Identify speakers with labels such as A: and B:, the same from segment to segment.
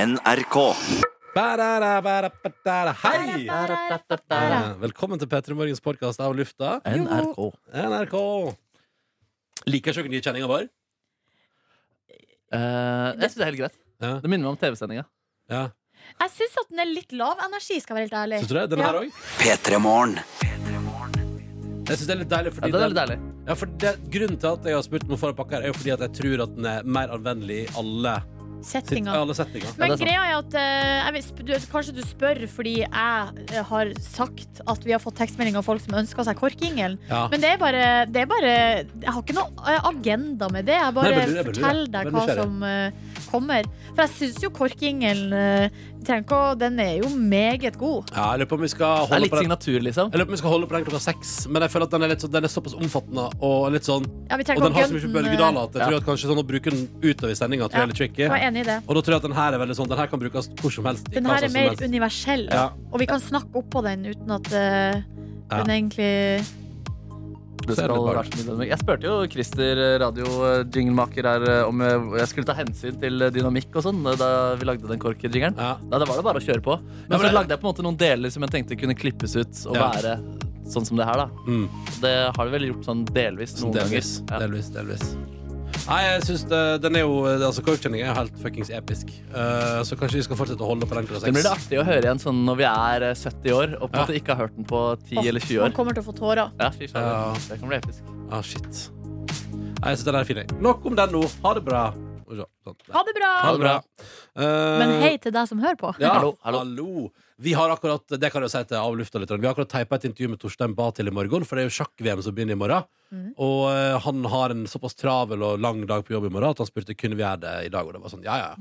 A: NRK.
B: Ba-da-da, ba-da-ba-da-da. Hei! Eh, Velkommen til Petter Morgens podkast av lufta.
A: NRK.
B: NRK. Liker dere nye kjenninga vår?
C: Eh, jeg syns det er helt greit.
B: Ja.
C: Det minner meg om TV-sendinga.
B: ja.
D: Jeg syns at den er litt lav energi, skal jeg være helt ærlig.
B: Syns du det? Den her
D: Ja.
B: òg?
A: P3 Morgen.
B: Jeg syns det er litt deilig.
C: Ja,
B: Fordi
C: det er litt
B: den-
C: deilig.
B: Ja, for det, grunnen til at jeg har spurt om å få en pakke, her, er jo fordi at jeg tror at den er mer anvendelig i alle, sitt-
D: Settinga.
B: alle setninger.
D: Men
C: Ja, det er sant.
D: greia er at eh, jeg vil, sp- du, Kanskje du spør fordi jeg eh, har sagt at vi har fått tekstmelding av folk som ønsker seg korkingelen.
B: Ja.
D: Men det er, bare, det er bare Jeg har ikke noe eh, agenda med det. Jeg bare
B: Nei, men du- jeg bare lurer.
D: forteller
B: Jeg bare
D: deg hva
B: nysgjerrig.
D: som eh, kommer. For jeg syns jo korkingelen eh, trenger ikke å- Den er jo meget god.
B: ja, jeg lurer på om vi skal
C: Det er
B: holde
C: litt
B: på den.
C: signatur, liksom.
B: Jeg lurer på om vi skal holde på den klokka seks, men jeg føler at den er, litt så, den er såpass omfattende og litt sånn
D: Ja, vi
B: Og
D: trenger
B: den
D: ikke å
B: har så
D: gunne
B: mye
D: den, eh,
B: bølgedaler at jeg
C: Ja.
B: tror at kanskje sånn å bruke den utover sendinga tror jeg er litt tricky.
D: Jeg er enig i det.
B: Og da tror jeg at den her er veldig sånn Den her kan brukes hvor som helst. i
D: Den
B: hva
D: her er
B: slags som
D: mer
B: helst.
D: universell,
B: Ja.
D: og vi kan snakke oppå den uten at eh,
B: Ja.
D: den egentlig
C: Du
B: Så er det
C: skal
B: litt
C: være
B: barn.
C: så mye. Jeg spurte jo Christer, eh, radio-jinglemaker her, eh, om jeg jeg skulle ta hensyn til eh, dynamikk og sånn eh, da vi lagde den korkjingeren.
B: Ja.
C: Nei, da var det bare å kjøre på.
B: Ja,
C: Men,
B: men
C: så
B: det-
C: lagde jeg på en måte noen deler som jeg tenkte kunne klippes ut og
B: Ja.
C: være sånn som det her, da.
B: Mm.
C: Det har det vel gjort sånn delvis
B: Sånn
C: noen
B: delvis.
C: ganger.
B: delvis, delvis. Nei, jeg synes det, den er jo Altså, Korkkjenning er jo helt fuckings episk. Eh, så kanskje vi skal fortsette å holde på den klokka
C: Det blir det
B: seks.
C: artig å høre igjen sånn når vi er eh, 70 år og på en
B: Ja.
C: måte ikke har hørt den på 10
D: Åh,
C: eller 20
D: Man
C: år.
D: kommer til å få tårer.
C: Ja, fy faen,
B: Ja.
C: Det kan bli episk.
B: Ah, shit. Nei, jeg synes den er fin, jeg. Nok om den nå. Ha det bra. Oi, så, Sånn.
D: Ha det bra!
B: Ha det bra. Eh,
D: Men hei til deg som hører på.
B: Ja, hallo,
C: Hallo, hallo.
B: Vi har akkurat det kan jeg jo si til avlufta litt, vi har akkurat teipa et intervju med Torstein Bae til i morgen, for det er jo sjakk-VM som begynner i morgen.
D: Mhm.
B: Og eh, han har en såpass travel og lang dag på jobb i morgen at han spurte kunne vi gjøre det i dag. Og det var sånn, ja, ja.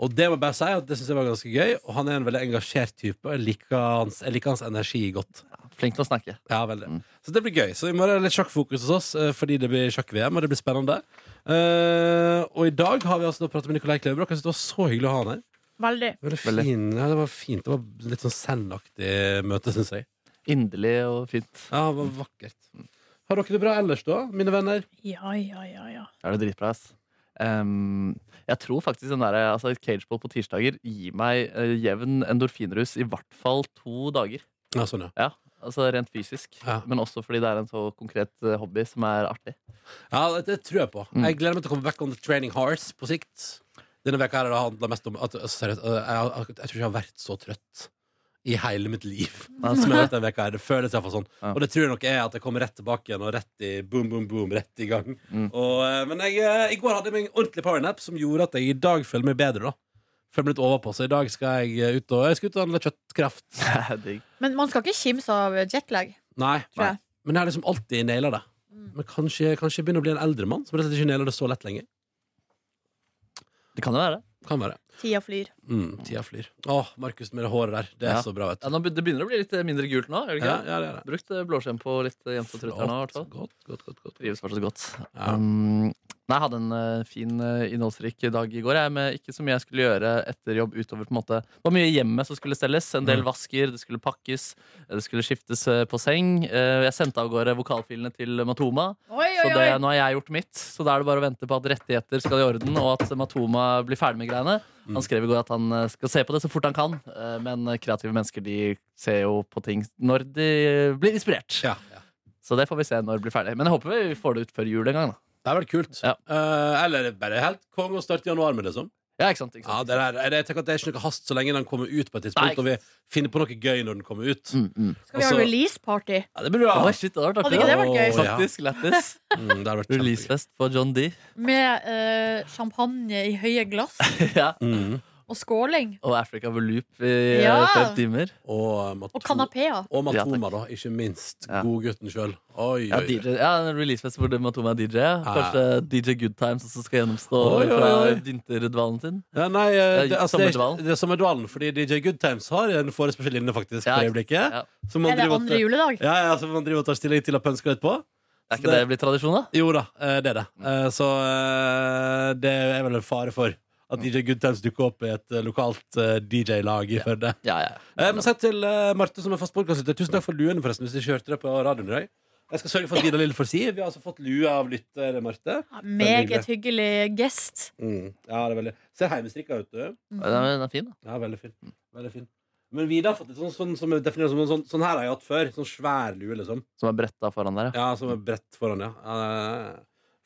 B: Og det må jeg bare si at det syns jeg var ganske gøy. Og han er en veldig engasjert type. og Jeg liker hans, jeg liker hans energi godt.
C: Flink til å snakke.
B: Ja, veldig. Så det blir gøy. Så i morgen er det litt sjakkfokus hos oss eh, fordi det blir sjakk-VM, og det blir spennende. Eh, og i dag har vi altså da pratet med Nikolai Klevebrok. Jeg synes det var så hyggelig å ha han her.
D: Veldig.
B: Veldig
C: Veldig.
B: fin. Ja, det var fint. Det var litt sånn Zen-aktig møte, syns jeg.
C: Inderlig og fint.
B: Ja, det var vakkert. Har dere det bra ellers, da, mine venner?
D: Ja, ja, ja, ja.
C: Ja, det er dritbra, ass. Ehm, jeg tror faktisk den der, altså, cageball på tirsdager gir meg eh, jevn endorfinrus i hvert fall to dager.
B: Ja, sånn, ja.
C: Ja, altså Rent fysisk,
B: Ja.
C: men også fordi det er en så konkret eh, hobby som er artig.
B: ja det, det tror jeg på.
C: Mm.
B: Jeg gleder meg til å komme back on the training horse på sikt. Denne veka her har det handla mest om at, altså, Seriøst, jeg, jeg, jeg tror ikke jeg har vært så trøtt i hele mitt liv. Som jeg har vært denne veka her. Det føles iallfall sånn.
C: Ja.
B: Og det tror jeg nok er at jeg kommer rett tilbake igjen og rett i boom, boom, boom. Rett i gang.
C: Mm.
B: Og, eh, men jeg, eh, i går hadde jeg meg en ordentlig powernap som gjorde at jeg i dag føler meg bedre. da Føler meg litt overpå, så i dag skal jeg eh, ut og Jeg skal ut og handle kjøttkraft.
C: Digg.
D: Men man skal ikke kimse av jetlag.
B: Nei.
D: Tror jeg.
B: Men jeg har liksom alltid naila det.
D: Mm.
B: Men kanskje, kanskje jeg begynner å bli en eldre mann som rett og slett ikke nailer det så lett lenger.
C: Det kan jo være.
B: Kan være.
D: Tida flyr.
B: Mm, tida flyr. Åh, Markus med det håret der. Det er
C: Ja.
B: så bra, vet
C: Ja,
B: du.
C: nå, be- det begynner å bli litt eh, mindre gult nå. er det
B: Ja,
C: ikke?
B: ja, det er det.
C: Brukt eh, blåskjerm på litt eh, jevnt og trutt her nå. i hvert fall.
B: Godt, godt, godt, godt.
C: Trives fortsatt godt.
B: Ja.
C: Um, nei, jeg hadde en eh, fin, eh, innholdsrik dag i går. Jeg, med ikke så mye jeg skulle gjøre etter jobb utover på en måte. Det var mye i hjemmet som skulle stelles. En del
B: Mm.
C: vasker, det skulle pakkes, eh, det skulle skiftes eh, på seng. Eh, jeg sendte av gårde vokalfilene til Matoma.
D: Oi,
C: Så
D: oi,
C: det,
D: oi!
C: nå har jeg gjort mitt, så da er det bare å vente på at rettigheter skal i orden, og at Matoma blir ferdig med greiene.
B: Mm.
C: Han skrev i går at han eh, skal se på det så fort han kan, eh, men kreative mennesker de ser jo på ting når de blir inspirert.
B: Ja, ja.
C: Så det får vi se når det blir ferdig. Men jeg håper vi får det ut før jul en gang. da
B: Det er vel kult.
C: Ja.
B: Eh, eller bare helt konge å starte i januar med, liksom.
C: Ja, ikke sant, ikke
B: Ja,
C: sant.
B: det er, jeg tenker at det er ikke noe hast så lenge den kommer ut på et
C: Nei,
B: tidspunkt, og vi finner på noe gøy når den kommer ut.
C: Mm, mm.
D: Skal vi ha
B: altså-
D: release-party?
B: Ja, det blir bra.
C: Oi, shit, det hadde vært
D: Hadde
C: artig.
D: ikke
C: da.
D: det vært gøy?
B: Å, ja.
C: Faktisk, lættis.
B: Mm, det har vært kjempegøy.
C: Releasefest på John D.
D: Med eh, champagne i høye glass
C: ja.
B: Mm.
D: og skåling.
C: Og Africa Loop i
D: Ja.
C: ja. fem timer.
B: Og, eh, Mato-
D: Og kanapeer.
B: Og
C: Ja, takk.
B: Matoma, da. Ikke minst.
C: Ja.
B: Godgutten sjøl. Oi,
C: Ja,
B: oi, oi.
C: DJ, ja, en releasefest hvor Matoma er DJ. Kanskje DJ Good Times også skal gjennomstå
B: Oi, oi,
C: fra
B: oi.
C: vinterdvalen sin.
B: Ja, nei, eh, det,
C: Det er
B: altså, det, er, ikke-
C: sommerdvalen.
B: det er sommerdvalen, fordi DJ Good Times har en forespørsel inne faktisk
C: Ja,
B: for
C: ikke-
B: øyeblikket.
C: ja.
B: Som man
D: Er det
B: driver og-
D: andre juledag?
B: Ja, ja, som man driver og tar stilling til og pønsker litt på.
C: Er ikke det blitt tradisjon, da?
B: Jo da, eh, det er det. Eh, Så eh, det er vel en fare for at DJ Good Times dukker opp i et eh, lokalt DJ-lag i Førde.
C: Ja, ja.
B: Eh, Men sett til eh, Marte, som er fast podkastlytter. Tusen takk for luene, forresten, hvis du ikke hørte det på radioen i dag. Jeg skal sørge for at Vidar Lill får si. Vi har altså fått lue av lytter Marte.
D: Ja, Meget hyggelig gest.
B: Mm. Ja, det er veldig Ser heimestrikka ut, du.
C: Den er, den er fin, da.
B: Ja, veldig fin. Veldig fin. Men Vidar har fått litt sånn, sånn som er definert som en sånn, sånn her har jeg hatt før. Sånn svær lue, liksom.
C: Som er bretta foran der, ja.
B: Ja, som er bredt foran, ja. Eh,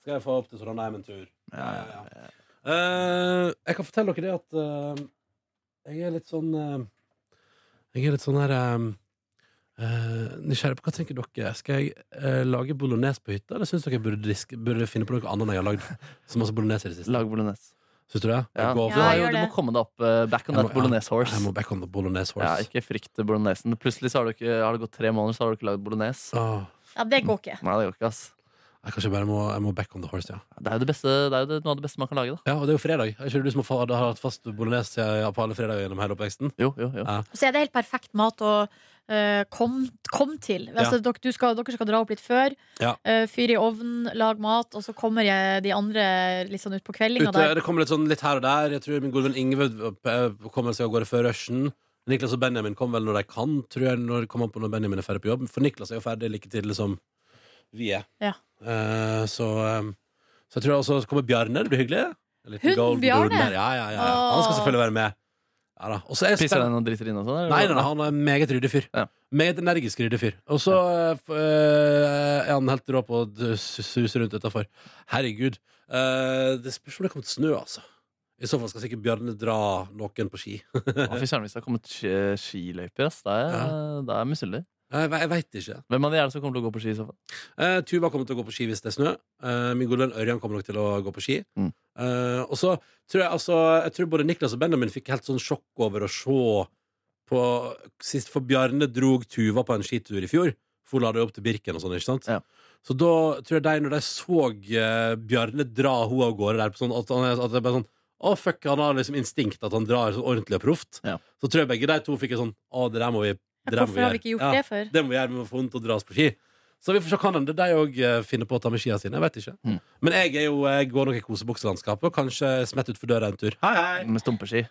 B: skal jeg få opp til Trondheim en tur? Ja, ja, ja. Eh, jeg kan fortelle dere det at eh, jeg er litt sånn eh, Jeg er litt sånn her eh, eh, Nysgjerrig på hva tenker dere? Skal jeg eh, lage bolognese på hytta, eller syns dere jeg burde, diske, burde finne på noe annet enn jeg har lagd så masse bolognese i det siste?
C: Lag bolognese.
B: Syns du det?
C: Ja.
B: Gå
C: Du,
B: for-
C: har
D: Ja,
C: jo,
D: gjør
C: du må
D: det.
C: komme deg opp. eh, back on
B: Jeg
C: that
B: må-
C: bolognese horse.
B: Jeg må back on the bolognese horse.
C: Ja, ikke frykt bolognesen. Plutselig så har, du ikke, har det gått tre måneder, så har du ikke lagd bolognese.
B: Åh,
D: Ja, det går ikke.
C: Nei, det går ikke, ass.
B: jeg kanskje bare må, jeg må back on the horse, ja.
C: Det er jo, det beste, det er jo det, noe av det beste man kan lage, da.
B: Ja, Og det er jo fredag. Er ikke det du som har, fa- har hatt fast bolognese ja, på alle fredager gjennom hele oppveksten?
C: Jo, jo, jo.
D: Og så er det helt perfekt mat å eh, komme kom til. Altså, dere, du skal, dere skal dra opp litt før,
B: Ja.
D: eh, fyre i ovnen, lage mat, og så kommer jeg de andre litt sånn utpå kveldinga
B: Ute,
D: der.
B: det kommer litt sånn litt her og der. Jeg tror min gode venn Ingve eh, kommer seg av gårde før rushen. Niklas og Benjamin kommer vel når de kan, tror jeg. Når, kommer an på når Benjamin er ferdig på jobb. For Niklas er jo ferdig like tidlig som vi er.
D: Ja.
B: Eh, så, eh, så jeg tror også så kommer Bjarne. Det blir hyggelig. En liten
D: Hun
B: golden
D: Bjarne?
B: doodle der. Ja, ja, ja, ja. Han skal
D: Åh.
B: selvfølgelig være med. Ja, da. Og så er jeg
C: Spiser
B: spent-
C: den og driter inne og sånn?
B: Nei, nei, nei, han er en meget ryddig fyr.
C: Ja.
B: Meget energisk ryddig fyr. Og så eh, f- eh, er han helt rå på å d- suse rundt utafor. Herregud. Eh, det spørs om det kommer til snø, altså. I så fall skal sikkert Bjarne dra noen på ski.
C: Å, Fy søren, hvis det har kommet ski- skiløyper, ass. Da er jeg- da er jeg misunnelig.
B: Jeg, ve- jeg veit ikke.
C: Hvem av de er det som kommer til å gå på ski i så fall?
B: Eh, Tuva kommer til å gå på ski hvis det er snø. Eh, min gode venn Ørjan kommer nok til å gå på ski.
C: Mm.
B: Eh, og så tror jeg altså Jeg tror både Niklas og Benjamin fikk helt sånn sjokk over å se på sist, For Bjarne drog Tuva på en skitur i fjor. For hun la det jo opp til Birken og sånn, ikke sant?
C: Ja.
B: Så da tror jeg de, når de så eh, Bjarne dra hun av gårde der på sånn At, han, er- at det er bare sånn å, fuck, han har liksom instinkt at han drar så ordentlig og proft.
C: Ja.
B: Så tror jeg begge de to fikk en sånn Å, det der må vi det der må
D: Hvorfor har vi ikke
B: gjøre.»
D: gjort
B: Ja.
D: det før?
B: Det må vi gjøre, vi må få vondt og dra oss på ski. Så vi får se hva de de òg finner på å ta med skia sine. Jeg vet ikke.
C: Mm.
B: Men jeg, er jo, jeg går nok i kosebukselandskapet og kanskje smett utfor døra en tur. Hei, hei!
C: Med stumpeski.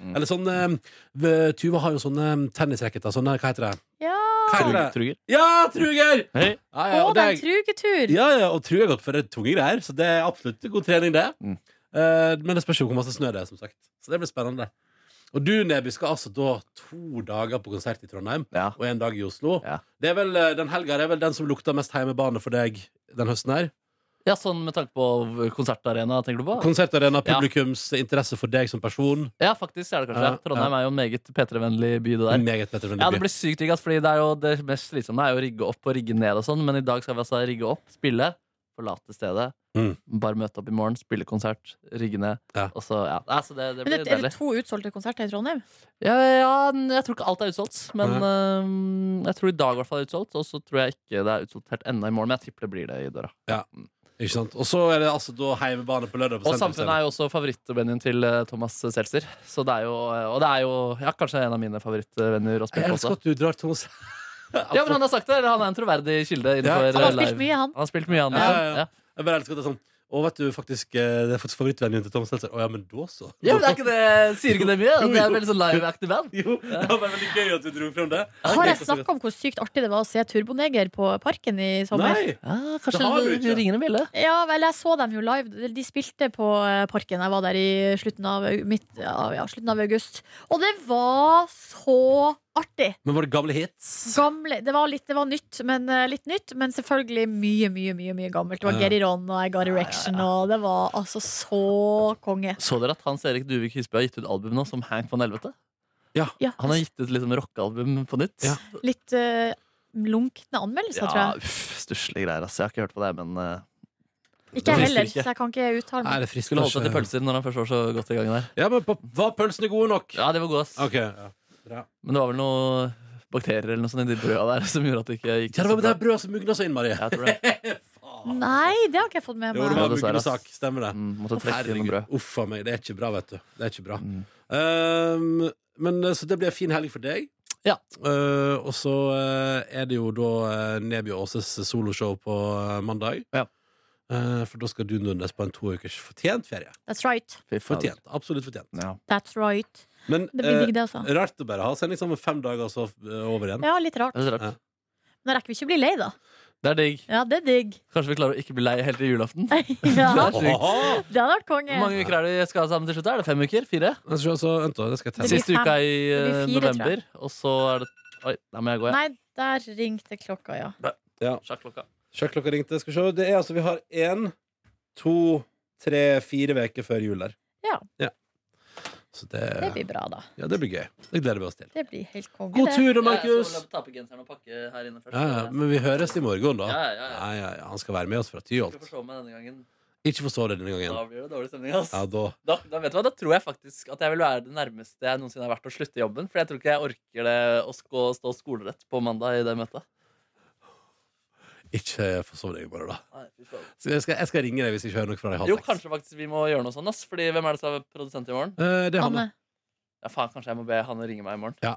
B: Eller sånn eh, v- Tuva har jo sånne eh, tennisracketer. Sånne, hva heter det?
D: Ja,
B: Hva heter det?
C: Truger. Truger.
B: Ja, truger!
C: Hei.
B: Ja, ja,
D: Å,
B: og
D: det
B: det
D: er
B: er-
D: en trugetur!
B: ja, ja, og truger er godt for det er tunge greier, så det er absolutt god trening, det.
C: Mm.
B: Eh, men det spørs jo hvor masse snø det er, som sagt. Så det blir spennende. Og du, Neby, skal altså da to dager på konsert i Trondheim
C: Ja.
B: og en dag i Oslo.
C: Ja.
B: Det er vel, eh, den helga er vel den som lukter mest heimebane for deg den høsten her.
C: ja, sånn med tanke på konsertarena, tenker du på?
B: Konsertarena,
C: Ja.
B: publikums interesse for deg som person.
C: Ja, faktisk er det kanskje
B: Ja,
C: det. Trondheim er jo en meget P3-vennlig by, det der.
B: Meget bedre enn
C: Ja, det blir sykt digg, ass, fordi det er jo det mest slitsomme er jo å rigge opp og rigge ned og sånn, men i dag skal vi altså rigge opp, spille, forlate stedet,
B: Mm.
C: bare møte opp i morgen, spille konsert, rigge ned,
B: Ja.
C: og så, ja. Nei, så det,
D: Men
C: det blir
D: det, er det
C: deilig.
D: to utsolgte konserter i Trondheim?
C: Ja, ja, n- jeg tror ikke alt er utsolgt, men øhm, jeg tror i dag i hvert fall er utsolgt, og så tror jeg ikke det er utsolgt helt ennå i morgen, men jeg tipper det blir det i døra.
B: Ikke sant? Og så er det altså da heimebane på lørdag. På
C: Og Samfunnet er jo også favorittvenuen til eh, Thomas Seltzer, så det er jo, og det er jo ja, kanskje en av mine favorittvenner å
B: Jeg
C: spille på
B: elsker
C: også.
B: at du drar til oss.
C: Ja, men han har sagt det, eller han er en troverdig kilde innenfor
B: Ja.
D: Han har
C: eh,
D: spilt
C: live.
D: mye, han.
C: Han har spilt mye, han.
B: Ja,
C: ja.
B: ja, ja.
C: Ja.
B: Jeg bare elsker at det er sånn Å, vet du, faktisk, eh, det er faktisk favorittvennen til Tom Seltzer. Å ja, men da så.
C: Ja, men det er ikke det, Sier ikke det mye? Det er veldig sånn live-aktig band.
B: Jo, det var bare veldig gøy at du dro frem det.
D: Har jeg snakka om hvor sykt artig det var å se Turboneger på Parken i sommer?
B: Nei!
C: Ja,
B: Det har du
C: kanskje
B: ikke.
C: det ringer en bjelle?
D: Ja, vel, jeg så dem jo live. De spilte på eh, Parken. Jeg var der i slutten av, au- midt, ja, ja, slutten av august. Og det var så artig!
B: Men var det gamle hits?
D: Gamle, det, var litt, det var nytt, men eh, litt nytt. Men selvfølgelig mye, mye mye, mye gammelt. Det var
B: Ja.
D: Geri Ron og I Got Erection, og det var altså så konge.
C: Så dere at Hans Erik Duvik Hysbø har gitt ut album nå som Hank von Helvete?
D: Ja,
C: Han har gitt ut liksom rockealbum på nytt.
B: Ja.
D: Litt eh, lunkne anmeldelser, tror
C: Ja,
D: jeg.
C: uff, Stusslige greier. ass. Jeg har ikke hørt på det, men eh,
D: Ikke
C: det
D: jeg
C: frister
D: heller,
C: ikke.
D: så jeg kan ikke uttale
B: Nei,
D: meg.
B: det frister
C: skulle holdt seg til
B: ikke.
C: pølser når han først var så godt i gang der.
B: Ja, men på, Var pølsene gode nok?
C: Ja, det var god, ass.
B: Ok, ja. Bra.
C: Men det var vel noe bakterier eller noe sånt i de brøda der som gjorde at det ikke gikk
B: Ja, det var det der brødet som mugna så innmari.
C: Ja, jeg tror det.
B: Faen.
D: Nei, det har ikke jeg fått med
B: Jo, det
D: meg.
B: var mugnesak. Stemmer det.
C: Mm, måtte trekke inn noe
B: Herregud,
C: brød.
B: uff a meg. Det er ikke bra, vet du. Det er ikke bra.
C: Mm.
B: Ehm, men eh, så det blir en fin helg for deg.
C: Ja.
B: Eh, og så eh, er det jo da eh, Neby og Åses soloshow på eh, mandag.
C: Ja.
B: Eh, for da skal du, Nordnes, på en to ukers fortjent ferie.
D: That's right.
C: Fy fader.
B: Fortjent. Absolutt fortjent.
C: Ja.
D: That's right.
B: Men
D: Det blir
B: eh,
D: digg, det, altså.
B: rart å bare ha sending sammen fem dager, og så eh, over igjen.
D: Ja, litt rart.
C: Det er så rart.
B: Ja.
D: Nå rekker vi ikke å bli lei, da.
C: Det er digg.
D: Ja, det er digg.
C: Kanskje vi klarer å ikke bli lei helt til julaften.
D: Ja,
C: Det er sjukt.
B: Åhå!
D: det hadde vært
C: Hvor
D: konge.
C: mange uker er det vi skal ha sammen til slutt? Er det fem uker? Fire?
B: Men så- så, vent da, det skal jeg
D: Det
B: telle.
D: blir
C: Siste
D: fem.
C: uka i
D: Det blir
C: eh,
D: fire, tror jeg.
C: november, og så er det Oi, nei, men jeg går, jeg.
D: Nei, der ringte klokka, ja.
C: Sjakklokka.
B: Sjekk klokka ringte. Skal vi se. Det er altså, vi har én, to, tre, fire uker før jul der.
D: Ja.
B: Så det,
D: Det blir bra, da.
B: ja, det blir gøy. Det gleder vi oss til.
D: Det blir helt konge.
B: God
D: det.
B: tur da, Markus!
C: ta på genseren og pakke her inne først.
B: Ja, ja, men vi høres i morgen, da.
C: Ja, ja, ja.
B: Ja, ja, ja. Han skal være med oss fra Tyholt.
C: meg denne gangen.
B: Ikke forstå det denne gangen.
C: Da blir det dårlig stemning, ass.
B: Ja, da
C: Da, da vet du hva, da tror jeg faktisk at jeg vil være det nærmeste jeg noensinne har vært å slutte jobben. For jeg tror ikke jeg orker det å sk stå skolerett på mandag i det møtet.
B: Ikke forsov deg i morgen, da.
C: Nei, fy faen.
B: Så jeg, skal, jeg skal ringe deg hvis jeg ikke hører noe fra deg halv
C: Jo,
B: seks.
C: kanskje faktisk vi må gjøre noe sånn, ass. Fordi hvem er det som er produsent i morgen?
B: Eh, det er Hanne.
D: Hanne.
C: Ja, faen, kanskje jeg må be Hanne ringe meg i morgen.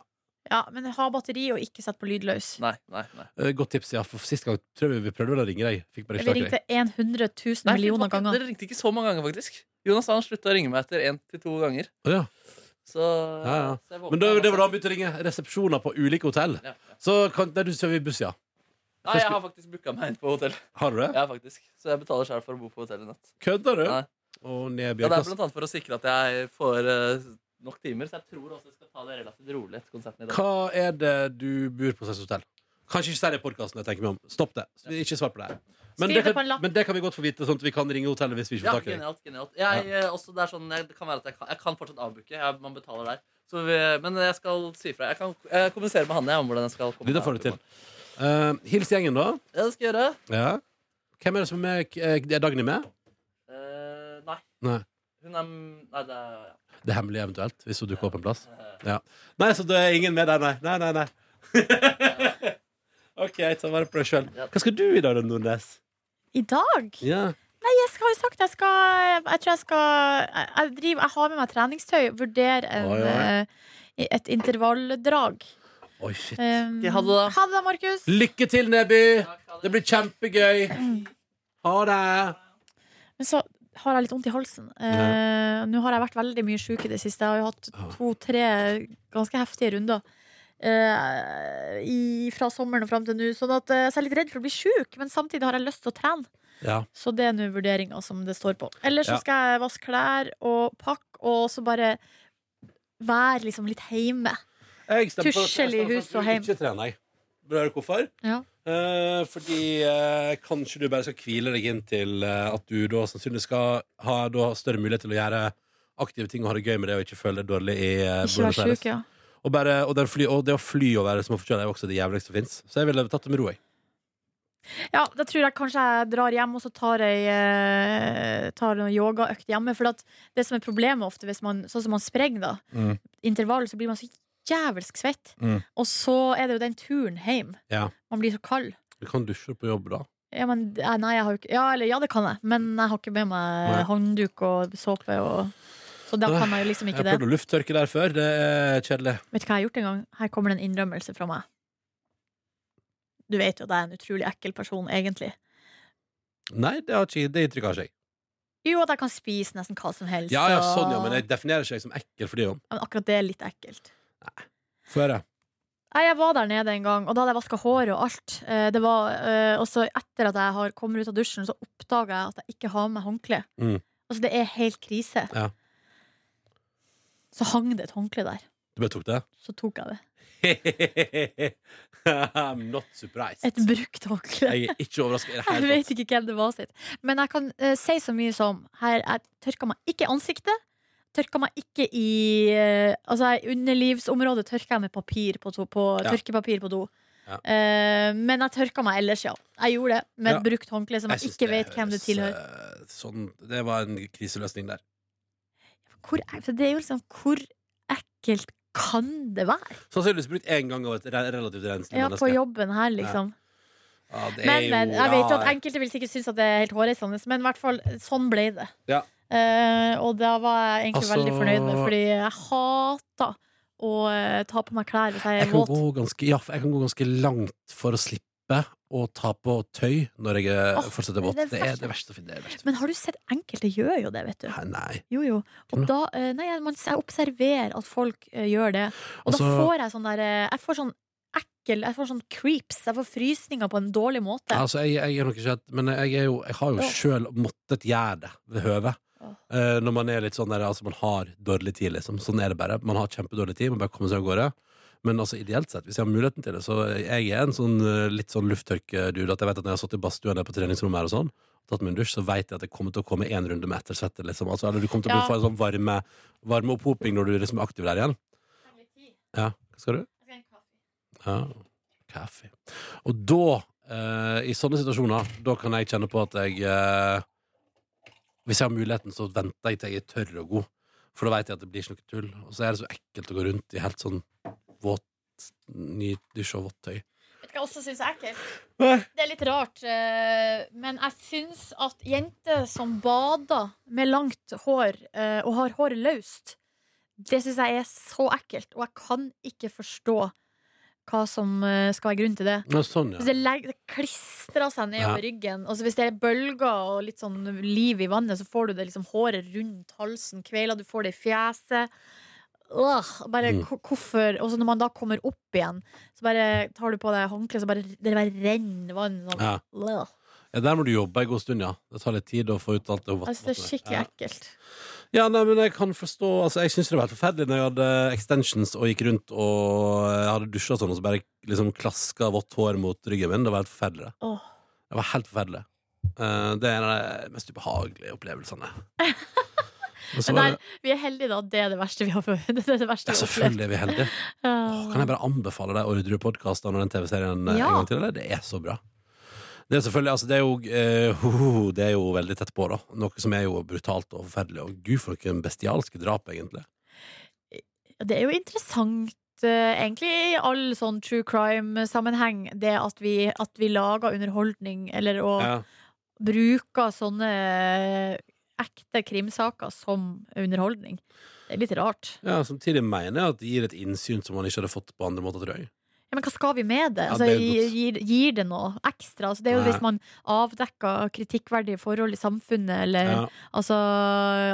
D: Ja, men ha batteri og ikke sett på lydløs.
C: Nei, nei, nei.
B: Eh, godt tips, ja. For sist gang tror jeg vi prøvde vel å ringe deg. Fikk bare
D: Vi
B: ikke tak i deg.
D: ringte 100 000
C: nei
D: millioner
C: fy faen,
D: ganger.
C: Dere ringte ikke så mange ganger, faktisk. Jonas han slutta å ringe meg etter én til to ganger.
B: Å, Ja.
C: Så,
B: Ja, ja.
C: så jeg våkna-
B: Men da, det var da han begynte å ringe resepsjoner på ulike hotell.
C: Ja, ja.
B: Så kan, nei, du kjører buss, ja.
C: Nei, jeg har faktisk booka meg inn på hotell.
B: Har du det?
C: Ja, faktisk. Så jeg betaler sjøl for å bo på hotell i natt.
B: Kødder du?
C: Nei.
B: Og ned
C: Ja, det er
B: Bjørkas.
C: blant annet for å sikre at jeg får eh, nok timer, så jeg tror også jeg skal ta det relativt rolig etter konserten i dag.
B: Hva er det du bor på slags hotell? Kanskje ikke si det i podkasten. Stopp det. Ikke svar på det. her. Men
D: Skriv
B: det,
D: det på en
B: kan,
D: lapp.
B: men det kan vi godt få vite, sånn at vi kan ringe hotellet hvis vi ikke
C: Ja,
B: får tak i deg.
C: genialt, genialt. Jeg, eh, også, det er sånn, jeg, det kan være at jeg kan, jeg kan fortsatt avbooke. Jeg, man betaler der. Så vi, men jeg skal si ifra. Jeg kan eh, kommunisere med Hanne om hvordan jeg skal komme
B: Det får du til. Eh, hils gjengen, da.
C: Ja, det skal jeg gjøre.
B: Ja. Hvem er det som er med? Eh, Er Dagny med?
C: Eh, nei.
B: Nei.
C: Hun er Nei, det er ja.
B: Det er hemmelig eventuelt, hvis hun dukker opp en plass.
C: Eh,
B: Ja. Nei, så det er ingen med der, nei. Nei, nei, nei. OK, ta vare på deg sjøl. Hva skal du i dag, da, Nordnes?
D: I dag?
B: Ja.
D: Nei, jeg skal- har jo sagt jeg skal Jeg tror jeg skal Jeg, jeg, driver, jeg har med meg treningstøy. Vurderer en,
B: Oi, oi.
D: eh, et intervalldrag.
B: Oi, shit.
D: Um,
C: Ok, ha det da.
D: Ha det, da, Markus.
B: Lykke til, Neby!
C: takk, ha det.
B: Det blir kjempegøy. Ha det.
D: Men så har jeg litt vondt i halsen. Eh, Nå har jeg vært veldig mye sjuk i det siste. Jeg har jo hatt to-tre ganske heftige runder. eh, i, fra sommeren og fram til nå. Sånn at, eh, så jeg er litt redd for å bli sjuk, men samtidig har jeg lyst til å trene.
B: Ja.
D: Så det er nå vurderinga som det står på. Eller så
B: Ja.
D: skal jeg vaske klær og pakke, og så bare være liksom litt hjemme.
B: Jeg stemmer for at-
D: Tussel i
B: jeg stemmer for at
D: hus
B: du
D: og heim.
B: Ikke trener, jeg. Bør du hvorfor?
D: Ja.
B: Eh, fordi eh, kanskje du bare skal hvile deg inn til eh, at du da sannsynligvis skal ha da, større mulighet til å gjøre aktive ting og ha det gøy med det og ikke føle deg dårlig i eh,
D: Ikke være
B: Aires.
D: sjuk, ja.
B: Og, bare, og, den fly, og det å fly og være småforkjøla er jo også det jævligste som fins. Så jeg ville tatt det med ro, jeg.
D: Ja, da tror jeg kanskje jeg drar hjem og så tar ei eh, Tar noen yogaøkt hjemme. For at det som er problemet ofte, hvis man, sånn som man sprenger, da,
B: Mm.
D: intervall, så blir man så jævelsk svett.
B: Mm.
D: Og så er det jo den turen hjem.
B: Ja.
D: Man blir så kald.
B: Du kan dusje på jobb, da.
D: Ja, men, eh, nei, jeg har jo ikke Ja, eller ja, det kan jeg, men jeg har ikke med meg
B: Nei.
D: håndduk og såpe og Så da kan jeg jo liksom
B: Jeg
D: ikke
B: har
D: det.
B: prøvd å lufttørke der før. Det er kjedelig.
D: Vet du hva jeg har gjort en gang? Her kommer det en innrømmelse fra meg. Du vet jo at jeg er en utrolig ekkel person, egentlig.
B: Nei, det har ikke Det inntrykket har ikke jeg.
D: Jo, at jeg kan spise nesten hva som helst.
B: Ja, ja,
D: og-
B: sånn, ja, men jeg definerer ikke jeg som ekkel for det, jo.
D: Ja, men akkurat det er litt ekkelt.
B: Få høre.
D: Nei, Jeg var der nede en gang, og da hadde jeg vaska håret og alt. Eh, Det var, eh, og så etter at jeg har kommer ut av dusjen, så oppdager jeg at jeg ikke har med håndkle.
B: Mm.
D: Altså, det er helt krise.
B: Ja.
D: Så hang det et håndkle der.
B: Du bare tok det?
D: Så tok jeg det.
B: I'm not surprised.
D: Et brukt håndkle.
B: Jeg er ikke overraska i det
D: Jeg
B: hele tatt.
D: vet ikke hvem det var sitt. Men jeg kan eh, si så mye som her, Jeg tørka meg ikke i ansiktet. Tørka meg ikke i eh, Altså, i underlivsområdet tørka jeg med papir på, to, på,
B: Ja.
D: tørkepapir på do.
B: Ja.
D: Eh, men jeg tørka meg ellers, ja. Jeg gjorde det med
B: Ja.
D: et brukt håndkle som jeg,
B: synes
D: ikke vet hvem det
B: høres,
D: tilhører.
B: eh, Sånn, det var en kriseløsning der. eh,
D: Hvor, er- for det er jo liksom Hvor ekkelt kan det være?
B: Sannsynligvis brukt én gang av et re- relativt renslig
D: Ja, på
B: menneske.
D: jobben her, liksom.
B: Ja, det er
D: Men, men
B: jo-
D: jeg vet jo
B: ja,
D: at enkelte vil sikkert synes at det er helt hårreisende, men i hvert fall sånn ble det.
B: Ja.
D: Eh, og da var jeg egentlig
B: Altså-
D: veldig fornøyd med, fordi jeg hata å eh, ta på meg klær hvis jeg
B: jeg
D: er
B: kan,
D: våt.
B: gå ganske, ja, for jeg kan gå ganske langt for å slippe å ta på tøy når jeg eh, er-
D: Åh,
B: fortsetter våt.
D: det er det
B: Det er
D: verste.
B: det verste. å finne- Det er det verste.
D: Men har du sett enkelte gjør jo det, vet du.
B: Nei, nei.
D: Jo, jo.
B: Ja.
D: Og da eh, Nei, jeg- man, jeg observerer at folk eh, gjør det. Og
B: Altså-
D: da får jeg sånn der eh, Jeg får sånn ekkel Jeg får sånn creeps. Jeg får frysninger på en dårlig måte.
B: Altså, jeg, jeg er nok ikke et- Men jeg, er jo, jeg har jo
D: Ja.
B: sjøl måttet gjøre det ved høve.
D: Ja.
B: Eh, når man er litt sånn der, altså man har dårlig tid, liksom. Sånn er det bare. Man har kjempedårlig tid, man bare kommer seg av gårde. Men altså, ideelt sett, hvis jeg har muligheten til det, så jeg er en sånn eh, litt sånn lufttørkedude at jeg vet at når jeg har sittet i badstuen der på treningsrommet her og sånn, tatt meg en dusj, så vet jeg at jeg kommer til å komme en runde med ettersvette, liksom. Altså, eller du kommer til å
D: Ja.
B: få en sånn varme, varme opphoping når du liksom er aktiv der igjen. Ja, hva skal du? Ja. Kaffe. Og da, eh, i sånne situasjoner, da kan jeg kjenne på at jeg eh, Hvis jeg har muligheten, så venter jeg til jeg er tørr og god. For da vet jeg at det blir ikke noe tull. Og så er det så ekkelt å gå rundt i helt sånn våt nydusj og vått tøy.
D: Vet du hva jeg også syns er ekkelt?
B: Nei.
D: Det er litt rart, eh, men jeg syns at jenter som bader med langt hår eh, og har håret løst, det syns jeg er så ekkelt, og jeg kan ikke forstå hva som eh, skal være grunnen til det.
B: Men sånn,
D: Hvis
B: ja.
D: det, legg- det klistrer seg nedover ryggen, og så hvis det er bølger og litt sånn liv i vannet, så får du det liksom håret rundt halsen, kveila, du får det i fjeset. Åh, bare
B: Mm.
D: ko- hvorfor Og så når man da kommer opp igjen, så bare tar du på deg håndkleet, så bare det bare renner vann sånn.
B: ja.
D: Åh.
B: ja der må du jobbe en god stund, ja. Det tar litt tid å få ut alt det
D: Jeg synes Altså, det er skikkelig
B: Ja.
D: ekkelt.
B: Ja, nei, men jeg kan forstå Altså, jeg synes det var helt forferdelig Når jeg hadde extensions og gikk rundt Og jeg hadde dusjet og sånn Og så bare liksom klasket vått hår mot ryggen min Det var helt forferdelig det.
D: Åh.
B: Det var helt forferdelig Eh, Det er en av de mest ubehagelige opplevelsene Men så
D: Men
B: var
D: der,
B: det
D: vi er heldige, da. Det er det verste vi har fått. Det er det
B: ja,
D: verste vi har opplevd.
B: selvfølgelig er vi heldige Åh, Kan jeg bare anbefale deg Ordre-podcasten og den tv-serien eh,
D: Ja.
B: en gang til? Eller? Det er så bra. Det er selvfølgelig, altså det er, jo, eh, hoho, det er jo veldig tett på, da. Noe som er jo brutalt og forferdelig. Og gud, for noen bestialske drap, egentlig.
D: Det er jo interessant, eh, egentlig, i all sånn true crime-sammenheng, det at vi, at vi lager underholdning, eller å
B: Ja.
D: bruker sånne eh, ekte krimsaker som underholdning. Det er litt rart.
B: Ja, Samtidig mener jeg at det gir et innsyn som man ikke hadde fått på andre måter, tror jeg.
D: Ja, men hva skal vi med det?
B: Ja,
D: Altså,
B: det er jo
D: gir,
B: godt.
D: gir- gir det noe ekstra? Altså, det er jo
B: Nei.
D: hvis man avdekker kritikkverdige forhold i samfunnet, eller
B: Ja.
D: altså,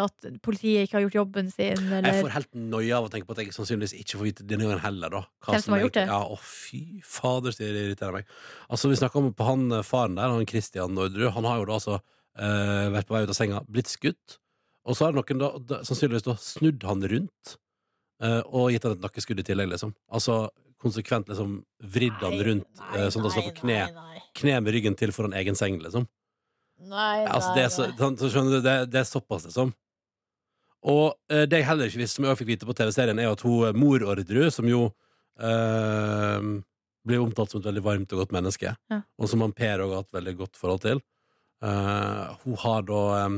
D: at politiet ikke har gjort jobben sin,
B: Jeg
D: eller
B: får helt noia av å tenke på at jeg sannsynligvis ikke får vite denne gangen heller, da.
D: Hvem som har
B: jeg-
D: gjort det?
B: Ja, å fy fader, så det irriterer meg. Altså, vi snakker om på han eh, faren der, han Christian Nordrud, han har jo da altså eh, vært på vei ut av senga, blitt skutt, og så har noen da, da sannsynligvis da snudd han rundt, eh, og gitt han et nakkeskudd i tillegg, liksom. Altså, konsekvent liksom vridd han rundt, eh, sånn at han står på kne,
D: Nei,
B: kne med ryggen til foran egen seng, liksom.
D: nei, nei,
B: Altså, det, er så, sånn, så skjønner du, det, det er såpass, liksom. Og eh, det jeg heller ikke visste, som jeg også fikk vite på TV-serien, er jo at hun eh, mor Orderud, som jo eh, blir omtalt som et veldig varmt og godt menneske,
D: Ja.
B: og som han Per òg har hatt veldig godt forhold til, eh, hun har da eh,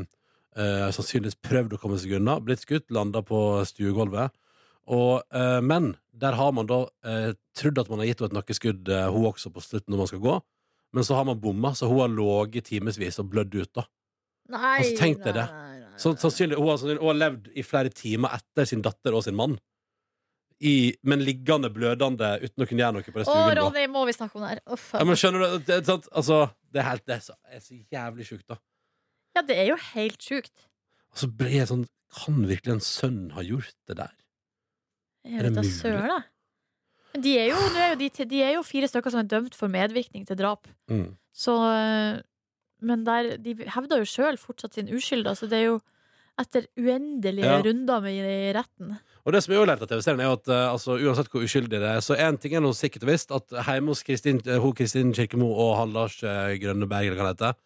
B: eh, sannsynligvis prøvd å komme seg unna, blitt skutt, landa på stuegulvet. Og, eh, men der har man da eh, trodd at man har gitt henne et nakkeskudd, eh, hun også, på slutten når man skal gå. Men så har man bomma, så hun har ligget i timevis og blødd ut. da
D: Nei,
B: altså, tenk deg
D: nei,
B: det.
D: nei, nei,
B: så,
D: nei.
B: sannsynlig, hun, har, sannsynlig- hun har levd i flere timer etter sin datter og sin mann. I, men liggende blødende uten å kunne gjøre noe på det
D: Å,
B: stuegulvet.
D: Ronny, må vi snakke om det her? Uff,
B: Ja, men skjønner du, det, er sant? altså, det, er helt, det er så, er så jævlig sjukt, da.
D: ja, det er jo helt sjukt.
B: Og så ble jeg sånn Kan virkelig en sønn ha gjort det der?
D: Jeg
B: Er det
D: vet da
B: mulig?
D: søren, jeg. Men de er, jo, nå er jo de, de er jo fire stykker som er dømt for medvirkning til drap.
B: Mm.
D: Så, øh, men der, de hevder jo sjøl fortsatt sin uskyld. Altså det er jo etter uendelige
B: Ja.
D: runder med i retten.
B: Og det som jeg også lærte av TV-serien, er jo at eh, altså, uansett hvor uskyldig det er, så én ting er noe sikkert og visst, at hjemme hos Kristin, eh, hun Kristin Kirkemo og han Lars eh, Grønneberg, eller hva det heter,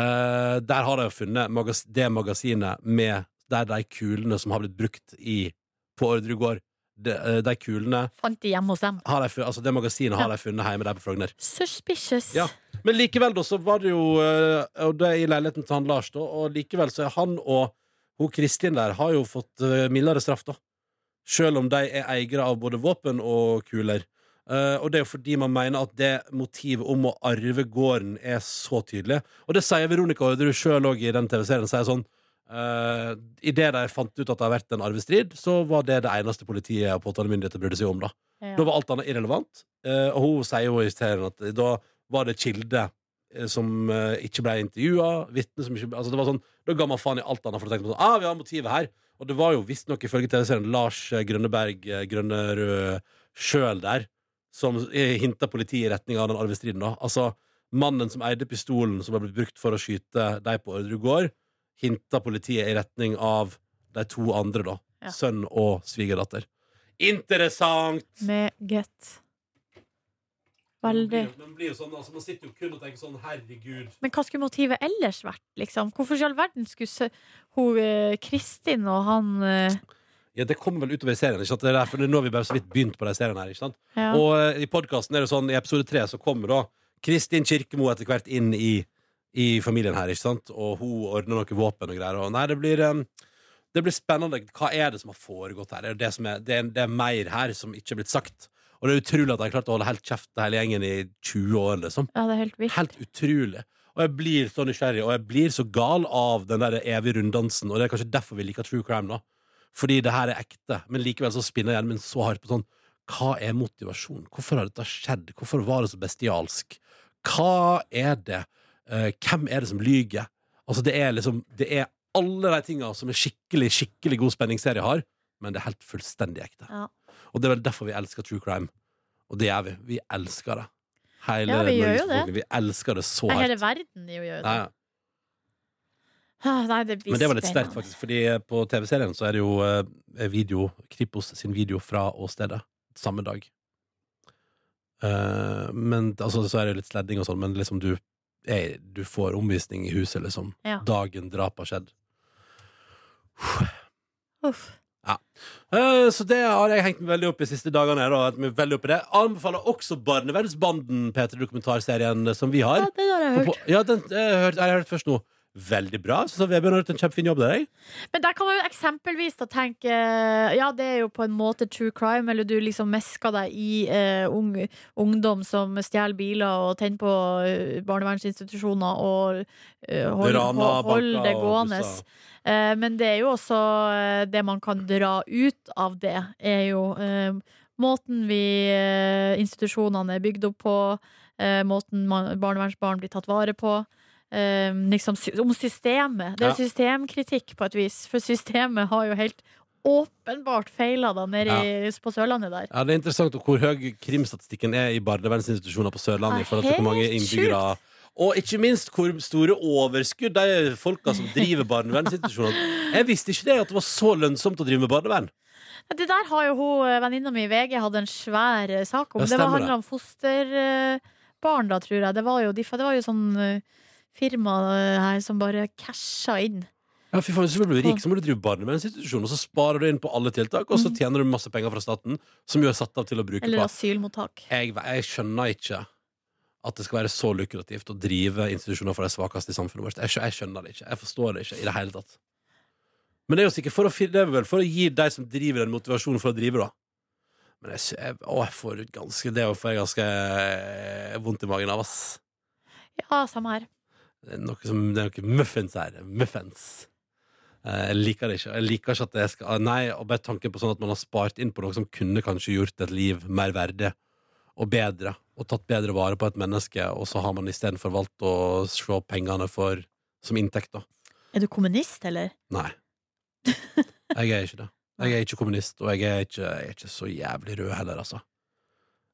B: eh, der har de jo funnet magas det magasinet med der de kulene som har blitt brukt i, på Orderud gård, de, eh, de kulene
D: Fant de hjemme hos dem.
B: har de, fu- altså det magasinet har de funnet hjemme der på Frogner.
D: Suspicious.
B: Ja. Men likevel, da, så var det jo eh, Og det er i leiligheten til han Lars, da. Og likevel så er han og hun Kristin der har jo fått eh, mildere straff, da. Selv om de er eiere av både våpen og kuler. Eh, og det er jo fordi man mener at det motivet om å arve gården er så tydelig. Og det sier Veronica Orderud sjøl òg i den TV-serien. sier sånn Uh, Idet de fant ut at det har vært en arvestrid, så var det det eneste politiet og påtalemyndigheten brydde seg om. da
D: Ja.
B: da var alt annet irrelevant. Eh, og hun sier jo i serien at da var det kilde eh, som eh, ikke ble intervjua, vitne som ikke ble- altså det var sånn, Da ga man faen i alt annet for å tenke på sånn, ah, vi har motivet her. Og det var jo visstnok ifølge TV-serien Lars eh, Grønneberg eh, Grønnerød sjøl der som hinta politiet i retning av den arvestriden. da. Altså, Mannen som eide pistolen som ble brukt for å skyte de på Orderud gård, hinta politiet i retning av de to andre, da.
D: Ja.
B: Sønn og svigerdatter. Interessant!
D: Meget. Veldig.
B: Man blir jo sånn, altså, man sitter jo kun og tenker sånn Herregud.
D: Men hva skulle motivet ellers vært? Liksom? Hvorfor i all verden skulle sø- hun, eh, Kristin og han eh,
B: Ja, Det kommer vel utover i serien. ikke sant? Det er derfor, nå har vi bare så vidt begynt på de seriene her. ikke sant?
D: ja.
B: Og eh, i podkasten er det sånn, i episode tre så kommer da Kristin Kirkemo etter hvert inn i, i familien her, ikke sant? Og hun ordner noe våpen og greier. Og nei, det blir, em, det blir spennende. Hva er det som har foregått her? Det er, det, som er, det, er, det er mer her som ikke er blitt sagt. Og det er utrolig at de har klart å holde helt kjeft hele gjengen i 20 år, liksom.
D: ja, det er helt vilt.
B: Helt utrolig. Og jeg blir så nysgjerrig, og jeg blir så gal av den der evige runddansen. Og det er kanskje derfor vi liker true crime, da. Fordi det her er ekte. Men likevel så spinner hjernen min så hardt på sånn Hva er motivasjonen? Hvorfor har dette skjedd? Hvorfor var det så bestialsk? Hva er det? Eh, hvem er det som lyger? Altså, det er liksom Det er alle de tinga som en skikkelig, skikkelig god spenningsserie har, men det er helt fullstendig ekte.
D: Ja.
B: Og det er vel derfor vi elsker true crime. Og det gjør vi. Vi elsker det. Hele
D: Ja, vi gjør
B: Norges
D: jo det.
B: befolkning. Vi elsker det så
D: Nei,
B: hardt.
D: hele verden gjør jo
B: Nei,
D: det. Ah, Nei, det blir
B: men det var litt sterkt,
D: spennende.
B: faktisk. Fordi eh, på TV-serien så er det jo eh, video, Kripos sin video fra åstedet samme dag. Eh, men altså, så er det jo litt sledding og sånn, men liksom du, er, du får omvisning i huset, liksom.
D: Ja.
B: Dagen drapet har skjedd.
D: Uff.
B: Eh, Så det har jeg hengt meg veldig opp i de siste dagene. her, Da, at vi er veldig opp i det Anbefaler også Barnevernsbanden, Peter, dokumentarserien eh, som vi
D: Ja,
B: har.
D: det har
B: Og
D: jeg hørt.
B: på- Ja, den eh, hørte- jeg har hørt først nå. Veldig bra. Så Vebjørn har gjort en kjempefin jobb der. jeg.
D: Men der kan man jo eksempelvis da tenke eh, Ja, det er jo på en måte true crime, eller du liksom mesker deg i eh, ung, ungdom som stjeler biler og tenner på eh, barnevernsinstitusjoner og eh, hold-
B: Rana,
D: ho- hold
B: banker
D: det
B: og
D: gående.
B: busser.
D: Eh, men det er jo også eh, det man kan dra ut av det, er jo eh, måten vi eh, institusjonene er bygd opp på, eh, måten man, barnevernsbarn blir tatt vare på. eh, liksom, sy- om systemet. Det er
B: Ja.
D: systemkritikk på et vis, for systemet har jo helt åpenbart feila da nede i, på Sørlandet der.
B: Ja, Det er interessant hvor høy krimstatistikken er i barnevernsinstitusjoner på Sørlandet. i
D: Ja,
B: forhold til hvor mange
D: helt
B: innbyggere Og ikke minst hvor store overskudd de folka som driver barnevernsinstitusjonene Jeg visste ikke det at det var så lønnsomt å drive med barnevern.
D: Det der har jo hun eh, venninna mi i VG hatt en svær eh, sak om.
B: Ja,
D: det var
B: stemmer det.
D: handla om fosterbarn, da, tror jeg. Det var jo, de- det var jo sånn eh, firma eh, her som bare casha inn.
B: Ja, fy faen, Hvis du blir rik, så må du drive barnevernsinstitusjon, og så sparer du inn på alle tiltak, og så
D: Mhm.
B: tjener du masse penger fra staten, som jo er satt av til å bruke
D: Eller
B: på
D: asylmottak.
B: jeg, jeg skjønner ikke at det skal være så lukrativt å drive institusjoner for de svakeste i samfunnet vårt. Jeg, skjø- jeg skjønner det ikke. Jeg forstår det ikke i det hele tatt. Men det er jo sikkert for å, fi- det er vel for å gi de som driver den motivasjonen for å drive, da. Men jeg, sy- jeg, å, jeg får ut ganske Det får jeg ganske eh, vondt i magen av, ass.
D: Ja, samme her.
B: Det er noe, som, det er noe muffins her. Muffins. Eh, Jeg liker det ikke. Jeg liker ikke at jeg skal ah, Nei, og bare tanken på sånn at man har spart inn på noe som kunne kanskje gjort et liv mer verdig og bedre, og tatt bedre vare på et menneske, og så har man istedenfor valgt å se pengene for, som inntekt, da.
D: Er du kommunist, eller?
B: Nei. Jeg er ikke det. Jeg er ikke kommunist, og jeg er ikke, jeg er ikke så jævlig rød heller, altså.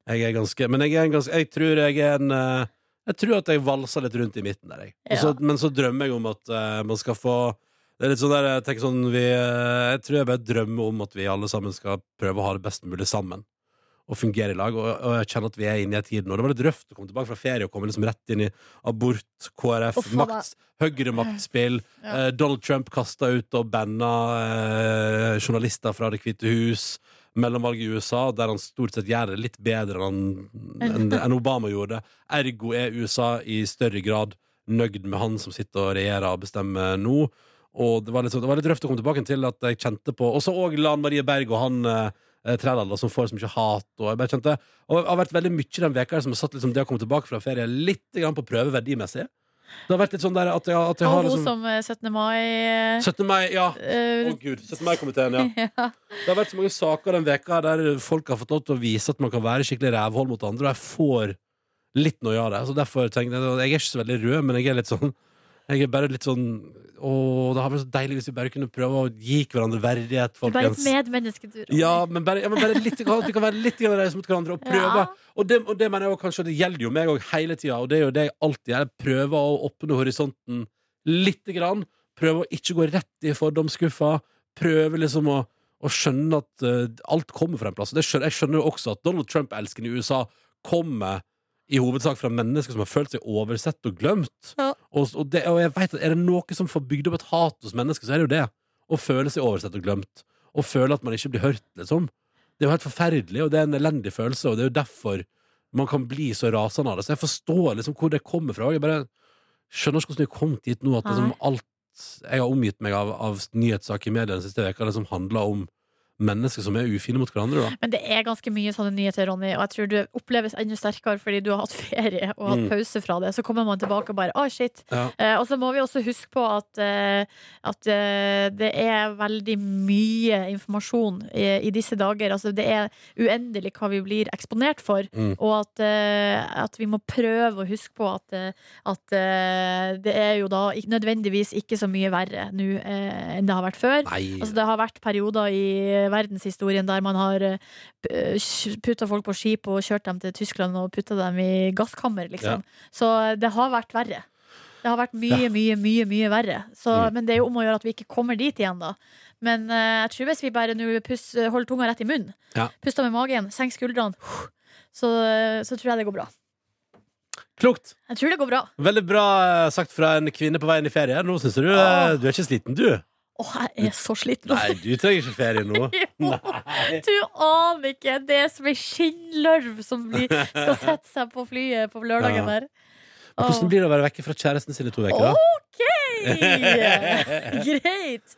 B: Jeg er ganske Men jeg er en ganske Jeg tror jeg er en eh, Jeg tror at jeg valser litt rundt i midten der, jeg. Og så-
D: Ja.
B: Men så drømmer jeg om at eh, man skal få det er litt sånn der, jeg tenker sånn vi, eh, Jeg tror jeg bare drømmer om at vi alle sammen skal prøve å ha det best mulig sammen. Og fungere i lag. Og, og jeg kjenner at vi er inne i tiden. Og det var litt røft å komme tilbake fra ferie og komme liksom rett inn i abort, KrF,
D: Å, faen,
B: makt, høyremaktspill.
D: Ja.
B: Eh, Donald Trump kasta ut og banna eh, journalister fra Det hvite hus. Mellomvalget i USA, der han stort sett gjør det litt bedre enn, enn, enn Obama gjorde. Ergo er USA i større grad nøyd med han som sitter og regjerer og bestemmer nå. Og det var litt, sånn- det var litt røft å komme tilbake til at jeg kjente på Og så òg Lan Marie Berg og han eh, eh, Trældal, da, som får så mye hat. Og jeg bare kjente Og det har vært veldig mye den veka her som har satt liksom, det å komme tilbake fra ferie litt grann på prøve verdimessig. Det har vært litt sånn der at jeg, at jeg
D: Og
B: har
D: hun
B: liksom
D: som eh, 17. mai
B: 17. mai, ja. Å
D: eh,
B: gud, 17. mai-komiteen, ja.
D: ja.
B: Det har vært så mange saker den veka der folk har fått lov til å vise at man kan være skikkelig rævhold mot andre, og jeg får litt noe av det. Så derfor tenkte jeg, Jeg er ikke så veldig rød, men jeg er litt sånn Jeg er bare litt sånn Å, det hadde vært så deilig hvis vi bare kunne prøve å gi hverandre verdighet,
D: Du er bare
B: folkens.
D: et medmenneske, du. Ronny.
B: Ja, men bare, ja, men bare litt, at vi kan være litt grann reise mot hverandre og prøve.
D: Ja.
B: Og, det, og det mener jeg også, kanskje, det gjelder jo meg òg hele tida, og det er jo det jeg alltid gjør. Jeg Prøver å åpne horisonten lite grann. Prøve å ikke gå rett i fordomsskuffa. Prøve liksom å, å skjønne at eh, alt kommer fra en plass. Og det skjønner, jeg skjønner jo også at Donald Trump-elsken i USA kommer i hovedsak fra mennesker som har følt seg oversett og glemt.
D: Ja.
B: Og, og, det, og jeg vet at er det noe som får bygd opp et hat hos mennesker, så er det jo det. Å føle seg oversett og glemt. Å føle at man ikke blir hørt, liksom. Det er jo helt forferdelig, og det er en elendig følelse, og det er jo derfor man kan bli så rasende av det. Så jeg forstår liksom hvor det kommer fra. og Jeg bare skjønner ikke hvordan vi har kommet dit nå, at liksom
D: Nei.
B: alt jeg har omgitt meg av, av nyhetssaker i media den siste veka liksom handler om mennesker som er ufine mot hverandre, da.
D: Men det er ganske mye sånne nyheter, Ronny, og jeg tror du oppleves enda sterkere fordi du har hatt ferie og hatt
B: Mm.
D: pause fra det. Så kommer man tilbake og bare Å, shit.
B: Ja.
D: Eh, og så må vi også huske på at, eh, at eh, det er veldig mye informasjon i, i disse dager. Altså, det er uendelig hva vi blir eksponert for.
B: Mm.
D: Og at, eh, at vi må prøve å huske på at, eh, at eh, det er jo da ikke, nødvendigvis ikke så mye verre nå eh, enn det har vært før.
B: Nei.
D: Altså, det har vært perioder i eh, verdenshistorien der man har eh, putta folk på skip og kjørt dem til Tyskland og putta dem i gasskammer, liksom. Så det har vært verre. Det har vært mye,
B: Ja.
D: mye, mye mye verre. Så,
B: Mm.
D: Men det er jo om å gjøre at vi ikke kommer dit igjen, da. Men eh, jeg tror hvis vi bare nå pus- holder tunga rett i munnen,
B: Ja.
D: puster med magen, senker skuldrene, så, eh, så tror jeg det går bra.
B: Klokt!
D: Jeg tror det går bra.
B: Veldig bra eh, sagt fra en kvinne på veien i ferie. Nå syns jeg du eh,
D: Åh.
B: Du er ikke sliten, du?
D: Å, jeg er så sliten. altså.
B: Nei, du trenger ikke ferie nå.
D: Jo.
B: Nei.
D: Du aner ikke det er som ei skinnlarv som blir, skal sette seg på flyet på lørdagen
B: Ja.
D: der.
B: Men Hvordan blir det å være vekke fra kjæresten sin i to uker, da?
D: OK! Greit.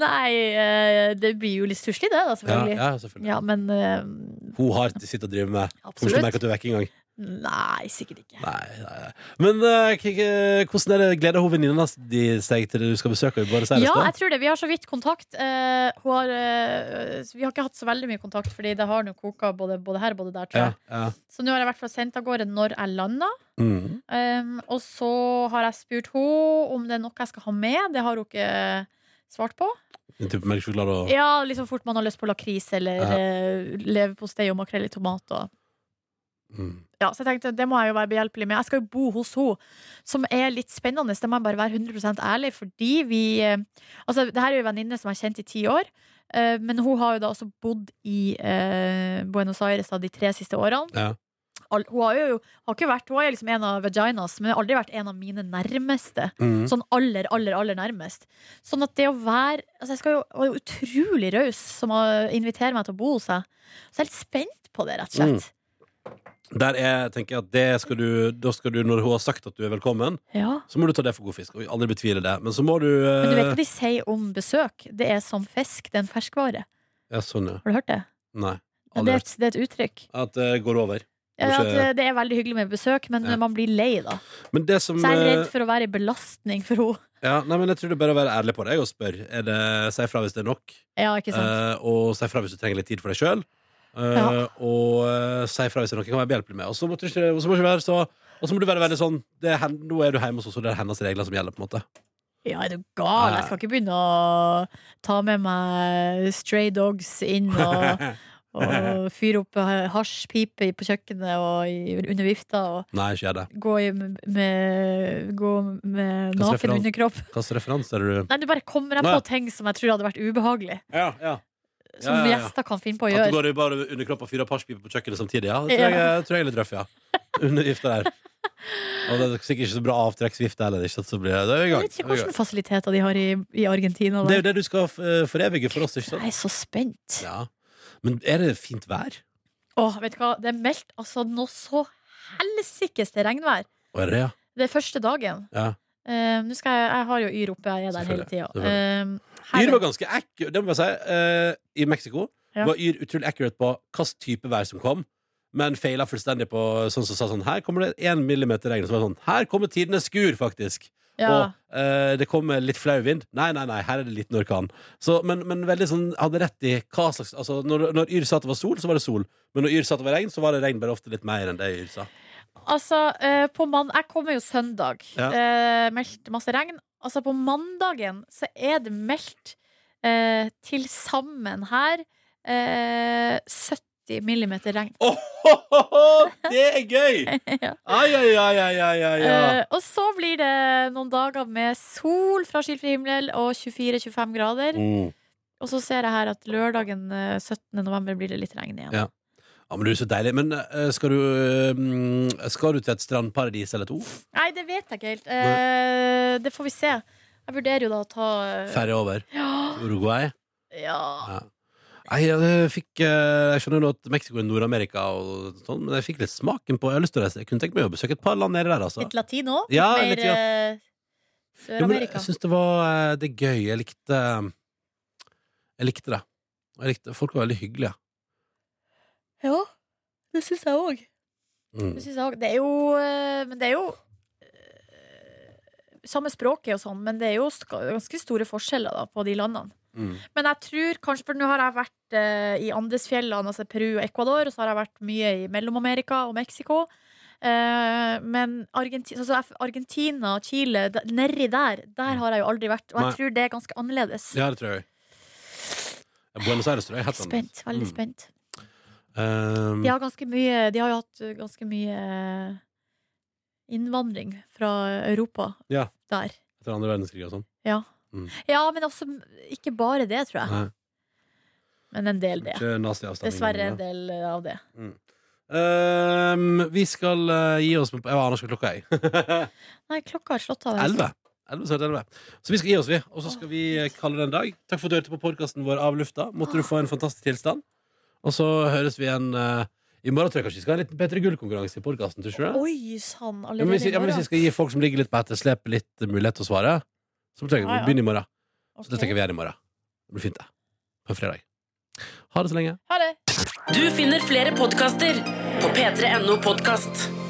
D: Nei, eh, det blir jo litt stusslig, det, da,
B: Ja,
D: selvfølgelig. Ja,
B: ja, selvfølgelig.
D: men eh,
B: Hun har sitt å drive med. Hun skal merke
D: absolutt.
B: at du er vekk en gang.
D: Nei, sikkert ikke.
B: Nei, nei, nei. Men eh, k- k- hvordan er det? gleder hun venninna di seg til det du skal besøke? Bare si det
D: Ja, jeg
B: sånn.
D: tror det. Vi har så vidt kontakt. Eh, hun har, eh, vi har ikke hatt så veldig mye kontakt, Fordi det har nå koka både, både her og både der. Tror
B: Ja,
D: jeg.
B: ja.
D: Så nå har jeg i hvert fall sendt av gårde når jeg lander.
B: Mm.
D: Um, og så har jeg spurt henne om det er noe jeg skal ha med. Det har hun ikke svart på.
B: En type melkesjokolade og
D: Ja, liksom fort man har lyst på lakris eller
B: Ja.
D: eh, leverpostei og makrell i tomat. Og.
B: mm.
D: Ja, så jeg tenkte det må jeg jo være behjelpelig med. Jeg skal jo bo hos henne, som er litt spennende. Det må jeg bare være 100 ærlig, fordi vi eh, Altså, det her er jo en venninne som jeg har kjent i ti år. eh, men hun har jo da også bodd i eh, Buenos Aires da, de tre siste årene.
B: Ja.
D: Al- Hun har jo har ikke vært Hun er liksom en av vaginas, men har aldri vært en av mine nærmeste.
B: Mm.
D: Sånn aller, aller, aller nærmest. Sånn at det å være Altså, jeg skal jo være utrolig raus som å invitere meg til å bo hos seg. Så jeg er litt spent på det, rett og slett.
B: Der er, tenker jeg at det skal du, da skal du, når hun har sagt at du er velkommen,
D: Ja.
B: så må du ta det for god fisk. Og aldri betvile det. Men så må du
D: Men du vet
B: eh,
D: hva de sier om besøk? Det er som fisk, det er en ferskvare.
B: Ja, sånn, ja.
D: Har du hørt det?
B: Nei.
D: Men
B: Aldri
D: det, er
B: hørt.
D: et, det er et uttrykk.
B: At det går over.
D: Ja,
B: Kanskje-
D: at eh, det er veldig hyggelig med besøk, men
B: Ja.
D: man blir lei, da.
B: Men det som
D: Så jeg er
B: eh,
D: redd for å være en belastning for henne.
B: Ja, nei, men jeg tror det er bare å være ærlig på deg og spørre. Er det, si fra hvis det er nok,
D: Ja, ikke sant?
B: eh, og si fra hvis du trenger litt tid for deg sjøl.
D: Ja.
B: Og eh, si fra hvis det er noe jeg kan være behjelpelig med. Og så må du ikke, og så må du ikke være så og så må du være veldig sånn det er, hen- Nå er du hjemme hos oss, og det er hennes regler som gjelder. på en måte
D: Ja, er du gal? Jeg skal ikke begynne å ta med meg stray dogs inn og, og fyre opp hasjpipe på kjøkkenet og i- under vifta og
B: Nei, ikke gjør det.
D: gå i- med, gå
B: Hva
D: med
B: slags
D: naken
B: referan-
D: underkropp.
B: Hvilken referanse er det du
D: Nei, du bare kommer deg
B: Nå, ja.
D: på ting som jeg tror hadde vært ubehagelig.
B: Ja, ja
D: Som
B: Ja, ja, ja.
D: gjester kan finne på
B: At
D: å
B: du
D: gjøre.
B: går i bare underkropp og fyrer hasjpipe på kjøkkenet samtidig? Ja, det tror jeg, jeg, tror jeg er litt røff, ja. Under vifta der. Og det er sikkert ikke så bra avtrekksvifte heller. Ikke sant? Så blir det, det er vi i
D: Jeg
B: gang.
D: vet ikke
B: Vi er i
D: hvilke fasiliteter de har i, i Argentina.
B: gang. Det er jo
D: Der.
B: det du skal eh, forevige for oss, ikke sant?
D: Jeg er så spent.
B: Ja. Men er det fint vær?
D: Åh, vet du hva? Det er meldt altså noe så helsikes til regnvær.
B: Og er det, ja?
D: Det er første dagen.
B: ja.
D: Eh, nå skal jeg, jeg har jo Yr oppe, jeg er der hele Eh,
B: Selvfølgelig,
D: tida.
B: Yr var ganske ekkel, det må jeg si. eh, I Mexico
D: Ja.
B: var Yr utrolig accurate på hvilken type vær som kom, men feila fullstendig på sånn som sa sånn Her kommer det én millimeter regn. Så var det sånn Her kommer tidenes skur, faktisk.
D: ja.
B: Og eh, det kommer litt flau vind. Nei, nei, nei, her er det liten orkan. Så, men, men veldig sånn hadde rett i hva slags Altså, når, når Yr sa at det var sol, så var det sol. Men når Yr sa at det var regn, så var det regn bare ofte litt mer enn det Yr sa.
D: Altså, eh, på mann... Jeg kommer jo søndag.
B: Ja.
D: Eh, meldt masse regn. Altså, på mandagen så er det meldt eh, til sammen her eh, 70 millimeter regn.
B: det er gøy!
D: Ja.
B: Ai, ai, ai, ai, ai, ai. ai.
D: Eh, og så blir det noen dager med sol fra skyldfri himmel og 24-25 grader.
B: Mm.
D: Og så ser jeg her at lørdagen eh, 17. november blir det litt regn igjen.
B: Ja. Ja, men du er så deilig. Men eh, skal du, eh, mm, skal du til et strandparadis eller to?
D: Nei, det vet jeg ikke helt. Eh, det får vi se. Jeg vurderer jo da å ta eh,
B: Ferje over
D: ja,
B: Uruguay?
D: ja.
B: Nei, jeg fikk eh, Jeg skjønner jo at Mexico er Nord-Amerika og sånn, men jeg fikk litt smaken på Jeg har lyst til å reise. Jeg kunne tenkt meg å besøke et par land nede der, altså.
D: Litt latino? Litt
B: Ja,
D: mer
B: litt, ja.
D: eh,
B: Jo, men jeg
D: Sør-Amerika?
B: syns det var eh, Det er gøy. Jeg likte eh, Jeg likte det. Og Jeg likte, folk var veldig hyggelige.
D: Ja, det syns jeg òg.
B: Mm.
D: Det, synes jeg også. det er jo eh, Men det er jo eh, Samme språket og sånn, men det er jo sk- ganske store forskjeller da, på de landene.
B: Mm.
D: Men jeg tror kanskje For nå har jeg vært eh, i Andesfjellene, altså Peru og Ecuador, og så har jeg vært mye i Mellom-Amerika og Mexico. Eh, men Argentina, altså jeg- Argentina, Chile, d- nedi der, der har jeg jo aldri vært. Og jeg
B: Mm. Nei.
D: tror det er ganske annerledes.
B: Ja, det tror jeg. Buenos Aires tror jeg
D: Veldig
B: helt annerledes.
D: spent. Veldig
B: Mm.
D: spent.
B: Um,
D: De har, ganske mye, de har jo hatt uh, ganske mye uh, innvandring fra Europa
B: Ja.
D: der.
B: Etter andre verdenskrig og sånn.
D: Ja.
B: Mm.
D: ja, men også ikke bare det, tror jeg.
B: Nei.
D: Men en del det.
B: Ikke naziavstemning.
D: Dessverre en del uh, av det.
B: Um, vi skal eh, gi oss med Jeg aner ikke hva klokka er.
D: Nei, klokka har slått av.
B: Elleve. Elleve, snart elleve. Så vi skal gi oss, vi. Og så skal vi eh, kalle det en dag. Takk for at du hørte på podkasten vår av lufta. Måtte du få en fantastisk tilstand. Og så høres vi igjen eh, i morgen. Tror jeg kanskje vi skal ha en liten P3 Gull-konkurranse i podkasten. Ja,
D: Oi sann,
B: men
D: allerede
B: hvis, vi-
D: i
B: ja, men hvis
D: morgen.
B: vi skal gi folk som ligger litt på etterslep, litt eh, mulighet til å svare, så trenger vi
D: Ja, ja.
B: å begynne i morgen. Så det
D: Ok.
B: tenker vi gjør i morgen. Det blir fint, det. På fredag. Ha det så lenge.
D: Ha det!
A: Du finner flere podkaster på p3.no podkast.